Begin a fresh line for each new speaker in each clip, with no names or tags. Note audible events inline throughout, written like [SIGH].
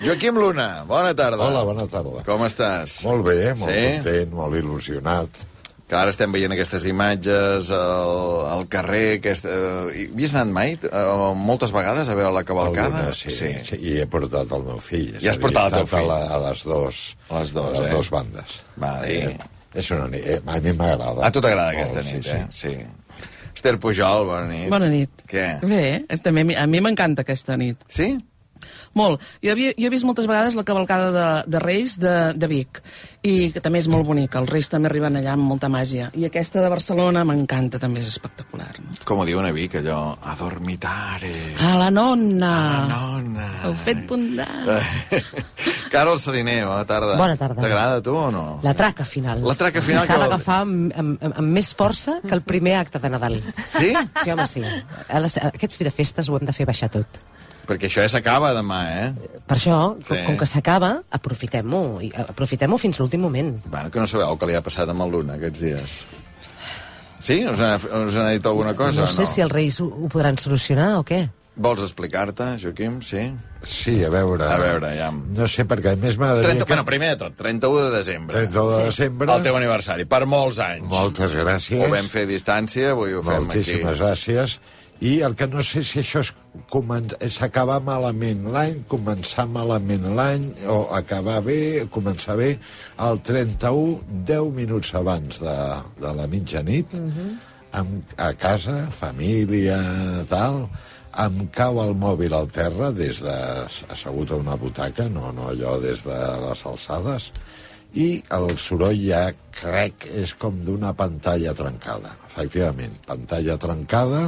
Joaquim Luna, bona tarda.
Hola, bona tarda.
Com estàs?
Molt bé, molt
Sí?
content, molt il·lusionat.
Que ara estem veient aquestes imatges al, al carrer. Aquesta... eh, Hi has anat mai? Eh, moltes vegades a veure la cavalcada?
Alguna, sí, sí. sí. I he portat el meu fill. és
I has
a dir,
portat
he
el teu
estat
fill.
A, la, a les dos,
A les dos,
a les
eh?
dos bandes.
Va, i-
és una nit, eh, a mi m'agrada.
A tu t'agrada
Molt,
aquesta nit,
sí,
eh? Sí. sí. Esther Pujol, bona nit.
Bona nit.
Què?
Bé, és, també a mi- a mi m'encanta aquesta nit.
Sí?
Molt. Jo, havia, jo he vist moltes vegades la cavalcada de, de Reis de, de Vic, i que també és molt bonica. Els Reis també arriben allà amb molta màgia. I aquesta de Barcelona m'encanta, també és espectacular. No?
Com ho diuen a Vic, allò? Adormitare.
A la nonna!
Ah, nona.
Heu fet bondar.
[LAUGHS] Carol Saliner, bona tarda.
Bona tarda.
T'agrada a tu o no?
La traca final.
La traca final
I S'ha
que-
d'agafar amb, amb, amb, amb més força que el primer acte de Nadal.
Sí?
Sí, home, sí. A les, a aquests fi de festes ho hem de fer baixar tot.
Perquè això ja s'acaba demà, eh?
Per això, sí.
Sí.
com, com que s'acaba, aprofitem-ho. i Aprofitem-ho fins l'últim moment.
Bueno, que no sabeu el que li ha passat amb el Luna aquests dies. Sí? Us n'ha us n'ha dit alguna cosa
no
o
sé si els reis ho, ho podran solucionar o què.
Vols explicar-te, Joaquim? Sí?
Sí, a veure...
A veure, ja.
No sé, perquè a més
30,
m'agradaria...
bueno, primer de tot, 31 de desembre.
31 de desembre.
El teu aniversari, per molts anys.
Moltes gràcies.
Ho vam fer a distància, avui ho fem aquí.
Moltíssimes gràcies. I el que no sé si això és comen- és acabar malament l'any, començar malament l'any, o acabar bé, començar bé, el 31, 10 minuts abans de, de la mitjanit, amb, a casa, família, tal, em cau el mòbil al terra, des de, assegut a una butaca, no, no allò des de les alçades, i el soroll ja, crec, és com d'una pantalla trencada. Efectivament, pantalla trencada,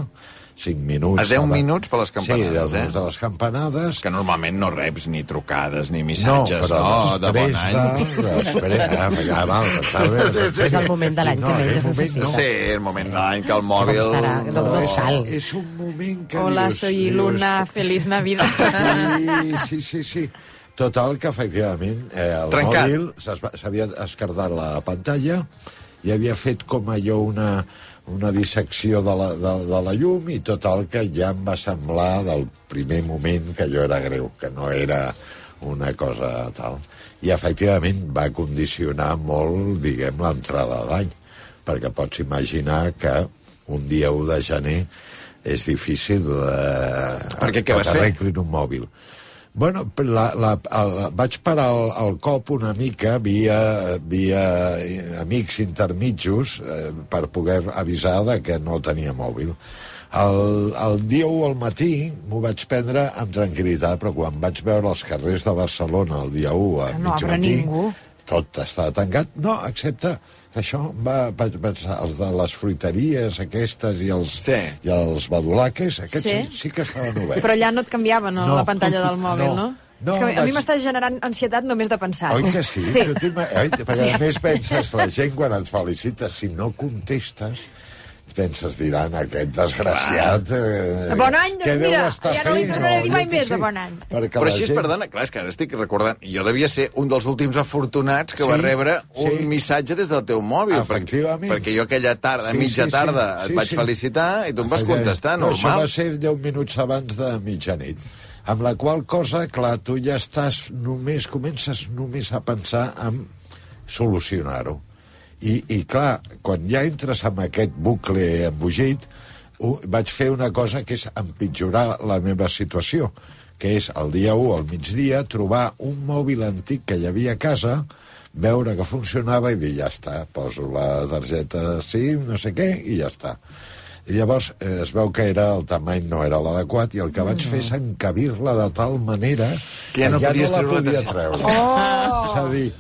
5 minuts...
A 10
abans-
minuts per les campanades,
sí, 10
eh?
minuts de les campanades.
Que normalment no reps ni trucades ni missatges,
no, però
no de bon any.
De, després, ah, ja, val,
[LAUGHS]
per tarda,
Sí, sí.
És el moment de l'any que
No, és
menys es
moment,
necessita.
no.
Sí, el moment de l'any que el mòbil...
Com serà? No, no cal.
És un moment que
Hola,
dius...
soy
dius,
Luna, feliz
[LAUGHS]
Navidad.
Sí, sí, sí, sí. Total, que efectivament eh, el
Trencat.
mòbil s'es va- s'havia escardat la pantalla i havia fet com allò una, una dissecció de la, de, de la llum i total que ja em va semblar del primer moment que allò era greu, que no era una cosa tal. I efectivament va condicionar molt, diguem, l'entrada d'any, perquè pots imaginar que un dia 1 de gener és difícil de...
Perquè què
que
vas fer?
t'arreglin un mòbil. Bueno, però la, la, la, vaig parar el, el cop una mica via, via eh, amics intermitjos eh, per poder avisar de que no tenia mòbil. El, el dia 1 al matí m'ho vaig prendre amb tranquil·litat, però quan vaig veure els carrers de Barcelona el dia 1 a
Ah, No obre
mitjanit,
ningú.
tot estava tancat, no, excepte que això va pa- pensar els de les fruiteries aquestes i els,
Sí.
i els badulaques, aquests sí,
Sí.
sí que estaven oberts.
Però ja no et canviaven no.
No.
la pantalla del mòbil, no?
No. No,
és que a
vaig-
mi m'està generant ansietat només de pensar.
Oi que sí?
Sí.
Tu t'ima- Oi? Perquè a més penses, la gent quan et felicita, si no contestes, penses, diran, aquest desgraciat... Eh,
Bon any, doncs
què deu
mira,
estar
ja no li
fent?"
tornaré a dir
jo
mai
què sé.
més de bon any.
Perquè
Però
la
així,
gent-
perdona, clar, és que ara estic recordant... Jo devia ser un dels últims afortunats que sí, va
Sí,
rebre un
sí.
missatge des del teu mòbil.
Efectivament.
Perquè, perquè jo aquella tarda,
Sí,
sí, mitja
sí, sí.
tarda,
Sí,
et vaig
sí.
felicitar i tu em vas
Efectivament.
contestar,
no, Això
normal.
va ser 10 minuts abans de mitjanit. Amb la qual cosa, clar, tu ja estàs només, comences només a pensar en solucionar-ho. I, I, clar, quan ja entres en aquest bucle embogit, ho, vaig fer una cosa que és empitjorar la meva situació, que és el dia 1 al migdia trobar un mòbil antic que hi havia a casa, veure que funcionava i dir, ja està, poso la targeta SIM, no sé què, i ja està. I llavors eh, es veu que era el tamany no era l'adequat i el que
Mm.
vaig fer és encabir-la de tal manera
Que ja no podies
la
treure-la
podia
de-
treure. Oh! És a dir,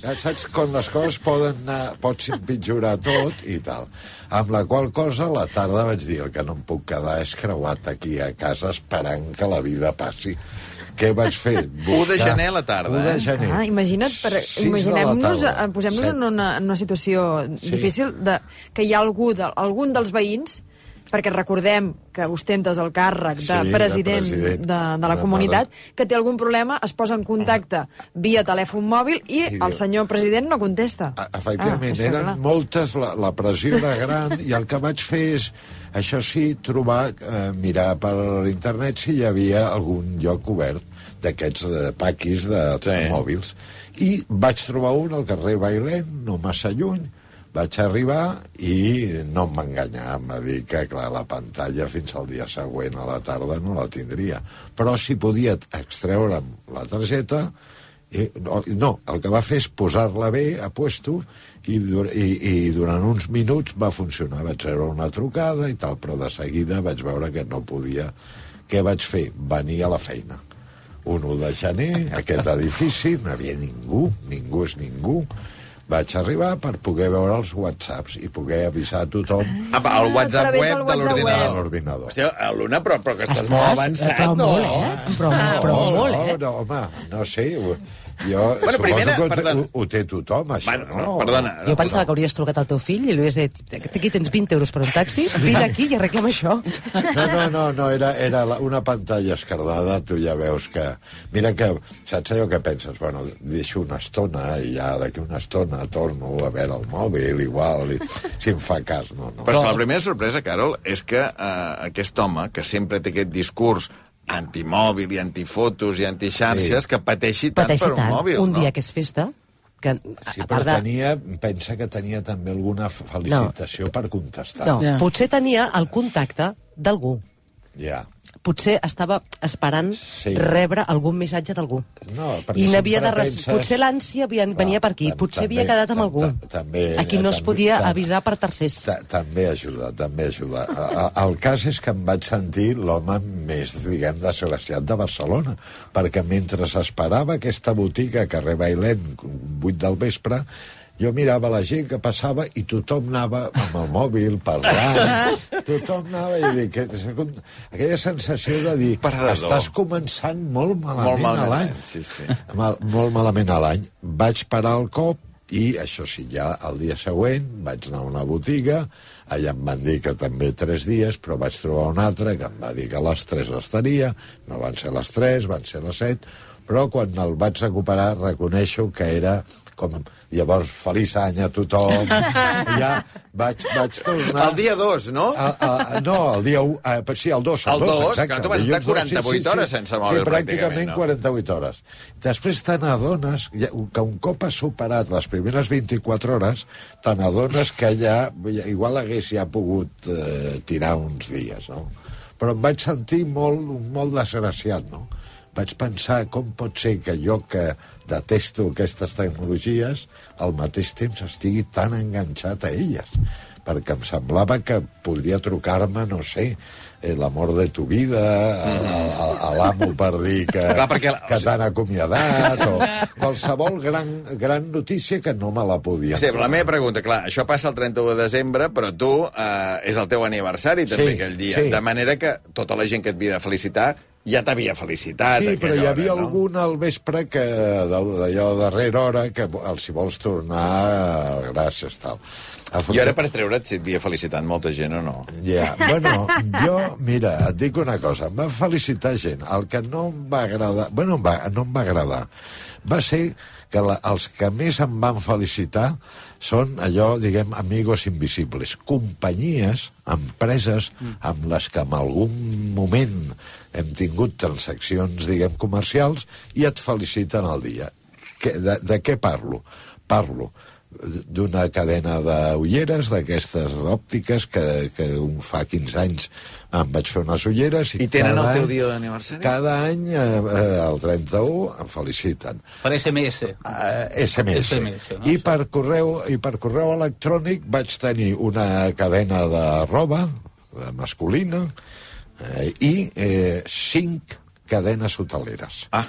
ja saps quan les coses poden anar, pots empitjorar tot i tal. Amb la qual cosa, a la tarda vaig dir el que no em puc quedar és creuat aquí a casa esperant que la vida passi. Què vaig fer?
U de gener a la tarda,
1 de
eh?
gener.
Ah, imagina't, per,
Sis de la
imaginem-nos,
tarda.
eh, posem-nos
Set.
en, una, en una situació
Sí.
sí. difícil de, que hi ha algú, de, algun dels veïns, perquè recordem que ostentes el càrrec de
Sí, de
president de,
president.
de, de la
Una
comunitat, que té algun problema, es posa en contacte via telèfon mòbil i
I diu-
el senyor president no contesta.
E- Efectivament,
és
ah,
que
eren
clar.
moltes, la, la pressió era gran, i el que vaig fer és, això sí, trobar, eh, mirar per internet si hi havia algun lloc obert. d'aquests de paquis de
Sí.
sí. mòbils. I vaig trobar un al carrer Bailén, no massa lluny, vaig arribar i no em va enganyar, em va dir que clar, la pantalla fins al dia següent a la tarda no la tindria, però si podia extreure'm la targeta i, no, no, el que va fer és posar-la bé a puesto i, dur- i, i durant uns minuts va funcionar, vaig rebre una trucada i tal, però de seguida vaig veure que no podia què vaig fer? Venir a la feina un 1 de gener, aquest edifici, no hi havia ningú, ningú és ningú. Vaig arribar per poder veure els whatsapps i poder avisar a tothom
Apa,
Ah,
el WhatsApp
través
web
del
de
WhatsApp
a
l'ordinador.
l'ordinador.
Ah. Hòstia, Luna, però, però que estàs, molt avançat,
però
no? Ah,
molt, eh? Però, molt, però
no,
molt, eh?
no, no, home, no sé, ho- jo
Bueno,
suposo
primera,
que ho, té-
perdona.
ho, ho té tothom, això,
Bueno, no,
no?
perdona.
Jo pensava que hauries trucat al teu fill i li hauries dit aquí tens 20 euros per un taxi, vine aquí i arregla'm això.
No, no, no, no era, era la- una pantalla escardada, tu ja veus que... Mira que, saps allò que penses? Bueno, deixo una estona i ja d'aquí una estona torno a veure el mòbil, igual, i, si em fa cas, no, no.
Però és que la primera sorpresa, Carol, és que eh, aquest home, que sempre té aquest discurs antimòbil i antifotos i antixarxes,
Sí.
sí. que pateixi tant
Pateixi
per un
tant,
mòbil,
un
no?
dia que és festa, que a-
Sí,
a
però
part de...
tenia, pensa que tenia també alguna felicitació no. per contestar.
No,
Ja.
potser tenia el contacte d'algú.
Ja.
Potser estava esperant
Sí.
sí. rebre algun missatge d'algú.
No, perquè
I n'havia de...
sempre
Res...
penses-
Potser l'ànsia havia...
Clar,
venia per aquí.
tam-
Potser
també-
havia quedat amb
tam-
algú.
ta- també-
a qui no es
també-
podia
tam-
avisar per tercers.
Ta també ajuda, també ajuda. A- a- El cas és que em vaig sentir l'home més, diguem, desgraciat de Barcelona, perquè mentre esperava aquesta botiga a carrer Bailén, 8 del vespre, jo mirava la gent que passava i tothom anava amb el mòbil
[LAUGHS]
parlant, tothom anava i dic, que- aquella sensació de dir,
Parador.
estàs començant molt
Molt
malament,
malament,
a l'any.
sí, sí.
Mal, molt malament a l'any. Vaig parar el cop i, això sí, ja el dia següent vaig anar a una botiga, allà em van dir que també tres dies, però vaig trobar un altre que em va dir que a les tres estaria, no van ser les tres, van ser les set, però quan el vaig recuperar reconeixo que era com llavors feliç any a tothom ja vaig, vaig tornar
El dia 2, no?
a, a, a- no, el dia 1, a, sí, el 2, el,
El
2,
dos,
exacte.
clar, tu vas
dilluns
estar 48
dos,
hores sense mòbil,
Sí, pràcticament
pràcticament, no?
48 hores. Després te n'adones, ja, que un cop has superat les primeres 24 hores, te n'adones que ja, ja, igual hagués ja pogut eh, tirar uns dies, no? Però em vaig sentir molt, molt desgraciat, no? Vaig pensar com pot ser que jo que detesto aquestes tecnologies al mateix temps estigui tan enganxat a elles perquè em semblava que podria trucar-me, no sé, eh, l'amor de tu vida, a- a- a l'amo per dir que,
Clar, perquè la-
Eh, que t'han acomiadat, o qualsevol gran, gran notícia que no me la podia...
Sí, però la meva pregunta, clar, això passa el 31 de desembre, però tu eh, és el teu aniversari també
Sí,
aquell dia,
sí.
de manera que tota la gent que et havia de felicitar ja t'havia felicitat.
Sí,
a
però
aquella
hi havia
hora, no?
algun al vespre que d'allò d'allò darrera hora que el, si vols tornar, gràcies, tal.
I ara per treure't si et havia felicitat molta gent o no.
Ja, bueno, jo, mira, et dic una cosa, em va felicitar gent. El que no em va agradar, bueno, em va, no em va agradar, va ser que la, els que més em van felicitar són allò, diguem, amigos invisibles, companyies, empreses, amb les que en algun moment hem tingut transaccions, diguem, comercials, i et feliciten el dia. Que, de, de què parlo? Parlo d'una cadena d'ulleres, d'aquestes òptiques, que, que un fa 15 anys em vaig fer unes ulleres...
I tenen
cada
el teu
any-
dia d'aniversari?
Cada any, eh, eh, el 31, em feliciten.
Per SMS.
Eh, SMS.
SMS, no?
I, per correu, I per correu electrònic vaig tenir una cadena de roba de masculina eh, i eh, cinc cadenes hoteleres.
Ah,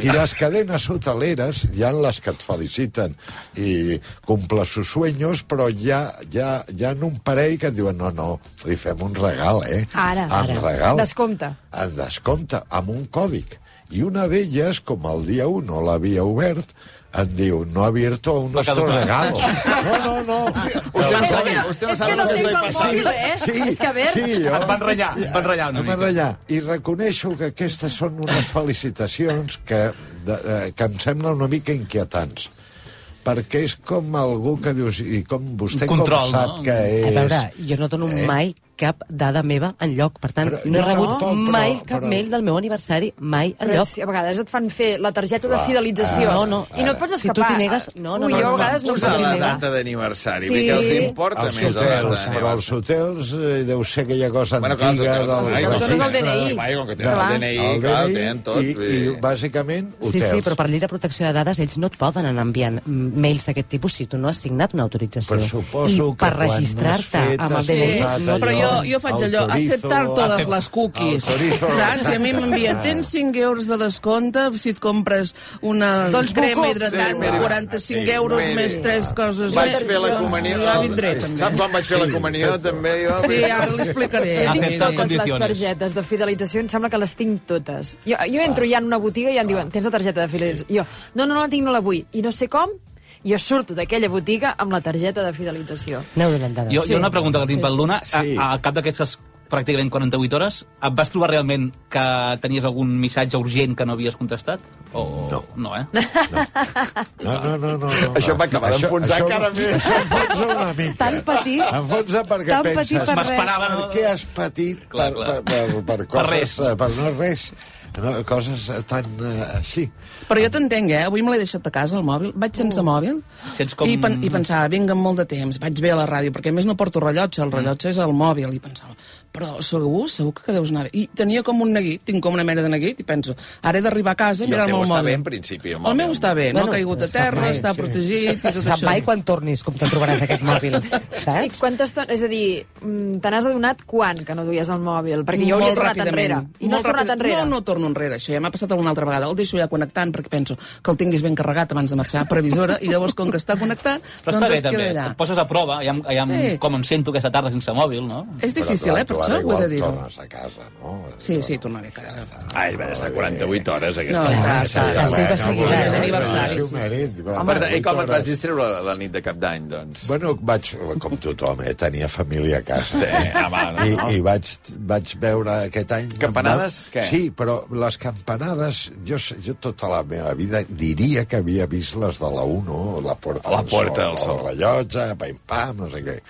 I les cadenes hoteleres hi ha les que et feliciten i cumple sus sueños, però hi ha, hi ha, hi ha un parell que et diuen no, no, li fem un regal, eh?
Ara.
Amb
Ara.
regal.
Descompte.
En descompte, amb un còdic. I una d'elles, com el dia 1 no l'havia obert, em diu, no ha abierto aún
Va
nuestro
caducar. [LAUGHS]
regalo. No, no, no.
Usted no
Però
sabe,
mira,
usted no
és
sabe
que no
lo que
tengo
estoy
el
pasando.
mòbil, eh?
Sí,
És que a veure...
sí, jo...
Et van ratllar, et van ratllar una
Em
mica.
van ratllar. I reconeixo que aquestes són unes felicitacions que, de, de, que em semblen una mica inquietants perquè és com algú que dius i com vostè
Un control,
com sap
no?
que és...
A veure, jo no dono
Eh?
mai cap dada meva en lloc. Per tant,
Però-
no he
no,
rebut
tampoc, però-
mai cap
però-
mail del meu aniversari, mai en
Però
lloc.
si a vegades et fan fer la targeta de
Clar.
fidelització
Ah, no, no.
i no et pots
Si tu
escapar.
t'hi negues, no, no,
Ui,
no, no.
jo a vegades no,
Posar
em
la
puc negar.
data d'aniversari,
Sí.
sí. que els importa
Els
més la data
hotels, però als
d'aniversari.
hotels eh, deu ser aquella cosa
Bueno, clar, els
antiga...
hotels, els
del
hotels,
dones el
registre,
DNI.
Vai, com que tenen
Clar.
el DNI,
el
clar, el
DNI,
tenen tot,
i,
vull dir.
i bàsicament
Sí,
hotels.
sí, però per llei de protecció de dades ells no et poden anar enviant mm, mails d'aquest tipus si tu no has signat una autorització.
Però suposo
I
que
per
quan
registrar-te
has fet,
amb el
has
DNI...
posat
Però jo,
no-
allò.
no.
jo faig allò,
Autorizo-
acceptar totes les cookies.
Autorizo-
Saps? I a mi m'envien, tens 5 euros de descompte si et compres una
Doncs
crema
buco.
hidratant
Sí,
de
mira.
45
Sí,
euros
mira.
més 3 coses.
Vaig
més.
fer la
Doncs
comunió...
Ja vindré, també.
Saps quan vaig fer la comunió, també, jo?
Sí, ara l'explicaré.
Ah,
Eh, Tinc
Acepta en
totes les
condiciones.
targetes de fidelització, em sembla que les tinc totes. Jo, jo entro ja en una botiga i ja em diuen, tens la targeta de fidelització? Jo, no, no la tinc, no la vull. I no sé com, jo surto d'aquella botiga amb la targeta de fidelització.
Aneu donant dades.
Jo,
Jo,
sí. jo una pregunta que tinc
Sí,
pel
sí.
Luna.
Sí.
Sí. A, al cap d'aquestes pràcticament 48 hores, et vas trobar realment que tenies algun missatge urgent que no havies contestat? O...
No.
No,
[LAUGHS]
eh?
No, no, no, no, no.
Això m'acaba
Això-
d'enfonsar
això-
encara més.
Això enfonsa una mica.
Tan petit,
Enfonsa perquè
tan
penses...
petit per
M'esperava,
Per
no?
què has patit
Clar,
per,
clar.
Per, per, per coses...
res.
Per, per no res. No, coses tan eh, així.
Però jo t'entenc, eh? Avui me l'he deixat a casa, el mòbil. Vaig sense mòbil
Sents com-
i, pen i pensava, vinga, amb molt de temps. Vaig bé a la ràdio, perquè a més no porto rellotge, el rellotge és el mòbil. I pensava, però segur, segur que deus anar bé. I tenia com un neguit, tinc com una mena de neguit, i penso, ara he d'arribar a
I
casa i
el
mirar el,
teu
meu
està
mòbil.
bé, en principi, el
el,
mòbil.
meu està bé,
Bueno,
no ha caigut a
està
terra,
mai,
està
sí.
protegit i tot
Sap
això.
mai quan tornis com te'n trobaràs aquest
[LAUGHS]
mòbil,
I
saps?
quanta estona... És a dir, mm, te n'has adonat quan que no duies el mòbil? Perquè jo
Molt
hauria tornat
ràpidament,
enrere. I no
molt
has tornat
ràpid-
enrere.
No, no torno enrere, això ja m'ha passat alguna altra vegada. El deixo ja connectant perquè penso que el tinguis ben carregat abans de marxar, previsora, i llavors, com que està connectat,
Però
doncs
està bé,
es
també.
queda allà.
Et poses a prova, ja, ja
Sí.
sí. com em sento aquesta tarda sense mòbil, no?
És difícil, eh, per això, ho he de dir.
Tornes a casa, no?
Sí, sí, tornaré a casa.
Ai, va estar 48 hores,
No,
aquesta.
està,
hora.
està,
ja
està.
es diu que seguirà,
És
eh?
aniversari.
Sí, marit,
Home, I com et vas distreure la, la nit de cap d'any, doncs?
Bueno, vaig, com tothom, eh, tenia família a casa. eh?
Sí, Eh, home, no,
I,
no.
i vaig, vaig veure aquest any...
Campanades,
Em va-
què?
Sí, però les campanades, jo, sé- jo tota la meva vida diria que havia vist les de la 1, o la Porta,
La Porta del Sol.
El rellotge, pam, pam, no sé què.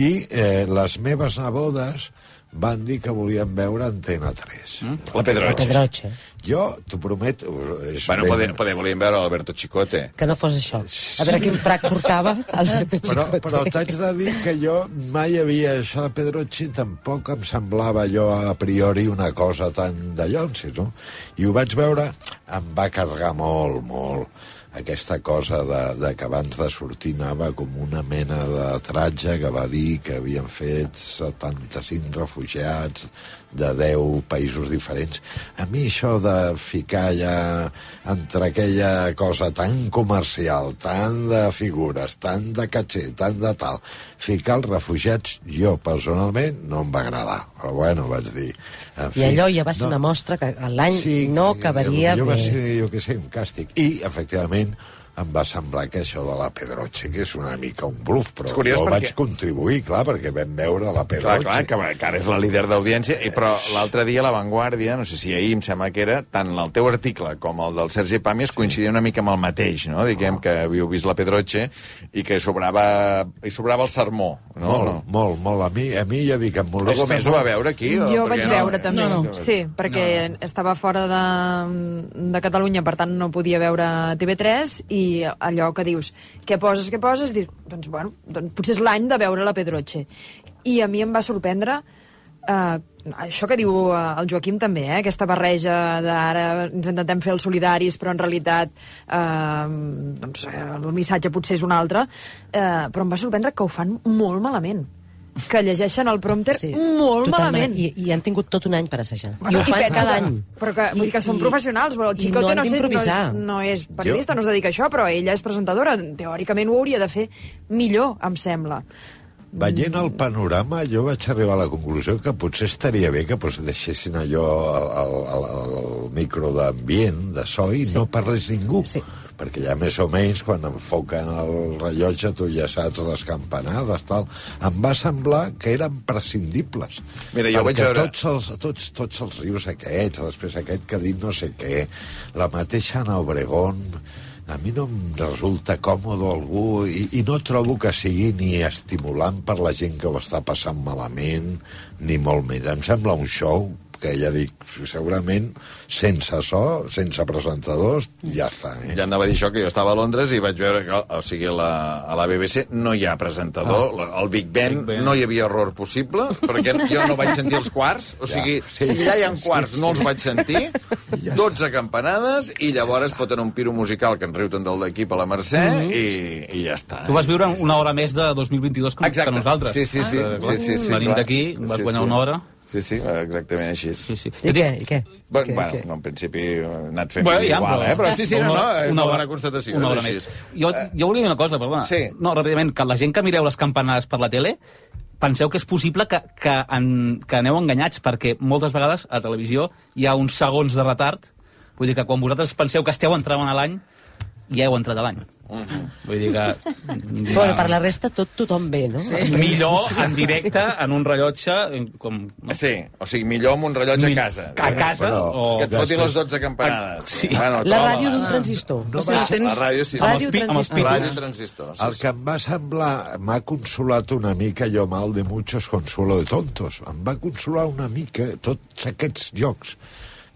I eh, les meves nebodes van dir que volien veure Antena 3. Mm?
La Pedroche.
Pedroche.
Jo, t'ho prometo... És
Bueno,
ben-
poder, poder volíem veure l'Alberto Chicote.
Que no fos això. A veure quin frac portava Alberto
Però,
Chicote.
però t'haig de dir que jo mai havia... Això de Pedrochi tampoc em semblava allò a priori una cosa tan de llonsis, no? I ho vaig veure, em va cargar molt, molt aquesta cosa de, de que abans de sortir anava com una mena de tratge que va dir que havien fet 75 refugiats de 10 països diferents. A mi això de ficar ja entre aquella cosa tan comercial, tant de figures, tant de caché, tant de tal, ficar els refugiats, jo personalment no em va agradar. Però bueno, vaig dir... En
I allò ja va ser una mostra que l'any no acabaria
jo, jo
bé.
va ser, jo què sé, un càstig. I, efectivament, em va semblar que això de la Pedroche, que és una mica un bluf, però
És curiós
jo
perquè-
vaig contribuir, clar, perquè vam veure la
Clar,
Pedroche.
clar, que, que ara és la líder d'audiència, i però l'altre dia La Vanguardia, no sé si ahir em sembla que era, tant el teu article com el del Sergi Pàmies coincidia una mica amb el mateix, no? Diguem que havíeu vist la Pedroche i que sobrava, i sobrava el sermó, no?
Molt,
no.
molt, molt. A mi, a mi ja dic, em
Luego
molesta...
més ho va veure aquí? o-
Jo
perquè
vaig veure també,
No, no.
sí, perquè estava fora de, de Catalunya, per tant no podia veure TV3 i allò que dius, què poses, què poses, dius, doncs bueno, doncs, potser és l'any de veure la Pedroche. I a mi em va sorprendre eh, això que diu eh, el Joaquim també, eh, aquesta barreja d'ara ens intentem fer els solidaris però en realitat eh, doncs, eh, el missatge potser és un altre, eh, però em va sorprendre que ho fan molt malament que llegeixen el prompter sí, molt
totalment.
malament.
I, I han tingut tot un any per assajar. I ho
Bueno,
fan
pensa
cada
que-
any.
Però que, vull dir que són professionals, però el
no
Xicote
han
no, sé, no,
d'improvisar.
és, no és periodista, no es dedica a això, però ella és presentadora. Teòricament ho hauria de fer millor, em sembla.
Veient el panorama, jo vaig arribar a la conclusió que potser estaria bé que pues, deixessin allò al, al- al, al micro d'ambient, de so, i sí. no parlés ningú.
Sí.
Perquè ja més o menys, quan enfoquen el rellotge, tu ja saps les campanades, tal. Em va semblar que eren prescindibles.
Mira, jo vaig
perquè
veure-
Tots els, tots, tots els rius aquests, després aquest que ha dit no sé què, la mateixa Ana Obregón, a mi no em resulta còmode algú i, i no trobo que sigui ni estimulant per la gent que ho està passant malament, ni molt més. Em sembla un show que ja dic, segurament sense so, sense presentadors, ja està. Eh?
Ja anava a dir això, que jo estava a Londres i vaig veure que, o sigui, la, a la BBC no hi ha presentador, ah. el Big Ben,
Big Ben.
no hi havia error possible, perquè jo no vaig sentir els quarts, o
Ja,
sigui,
sí.
si allà hi ha
Sí,
quarts,
sí.
no els vaig
[LAUGHS]
sentir,
Ja
12 campanades, i llavors foten un piro musical que en riu tant del d'equip a la Mercè, i, i ja està.
Mhm. Tu vas viure una hora més de 2022 que,
Exacte.
que nosaltres.
Sí, sí, sí.
Eh,
sí,
clar,
sí, sí
Venim
clar.
d'aquí, vas
Sí,
guanyar
sí.
una hora.
Sí, sí, exactament així.
Sí, sí.
I què, i què?
Bueno,
Què,
bueno
què?
no, en principi ha anat fent
Bueno,
bueno,
ja,
igual,
però-
eh? Però sí, sí, no, no, és una bona
hora-
constatació.
Una
és
hora
així.
més. Jo, jo volia dir una cosa, perdona.
Sí.
No, ràpidament, que la gent que mireu les campanades per la tele, penseu que és possible que, que, en, que aneu enganyats, perquè moltes vegades a televisió hi ha uns segons de retard. Vull dir que quan vosaltres penseu que esteu entrant a l'any, ja heu entrat a l'any.
Mm-hmm.
Vull dir que...
Ja. Bueno, per la resta tot tothom ve, no? Sí.
Millor en directe, en un rellotge, com... No?
Sí, o sigui, millor amb un rellotge a casa.
A casa
Però-
o...
Que et foti les 12 campanades. Ah,
Sí.
La
toma, va.
ràdio d'un transistor.
No
No,
va-
sí.
La ràdio, sí.
Amb els
Ràdio
pi- amb els
transistor.
pitos.
Ràdio transistor.
El que em va semblar, m'ha consolat una mica, jo mal de muchos consuelo de tontos, em va consolar una mica tots aquests jocs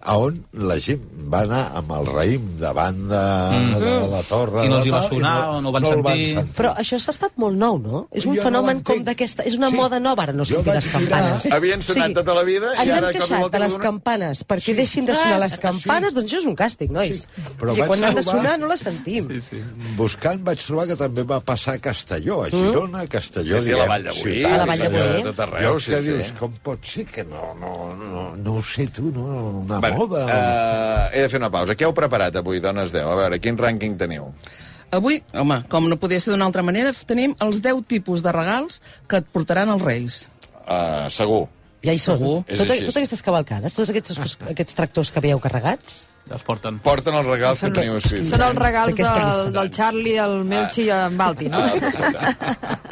a on la gent va anar amb el raïm davant de, mm. de la torre
I
de
no els hi va
tal, i
sonar o no ho van
no el
sentir.
Però això s'ha estat molt nou, no? És
Jo no
un jo
ho
fenomen no
entenc.
com d'aquesta... És una
Sí.
sí. moda nova, ara no
Jo
sentir
vaig
les campanes.
mirar-
Havien sonat tota la vida i
ens
ara
hem
de cop i
queixat
volta
de les
d'una-
campanes perquè
Sí.
deixin de sonar les
Sí.
campanes, doncs això és un càstig, nois.
Sí. Però
I
vaig
quan han de
trobar-
sonar no les sentim. Sí, sí.
buscant vaig trobar que també va passar a Castelló,
Mm.
a Girona, a Castelló,
Sí, sí, a la Vall de Boí,
ciutat,
a la Vall de
allò-
Boí.
tot arreu,
llocs
sí,
que
sí.
dius, com pot ser que no, no, no, no ho sé tu, no, una
Bueno,
moda... o-
eh, he de fer una pausa. Què heu preparat avui, dones 10? A veure, quin rànquing teniu?
Avui, home, com no podia ser d'una altra manera, tenim els 10 tipus de regals que et portaran els reis.
Uh, segur.
Ja hi són.
Segur. És
Tot,
així.
totes aquestes cavalcades, tots aquests, aquests tractors que veieu carregats,
Els porten.
Porten els regals que teniu escrits.
Són els regals
D'aquesta
del,
llista.
del Charlie, el Melchi i en Balti, no?
Ah,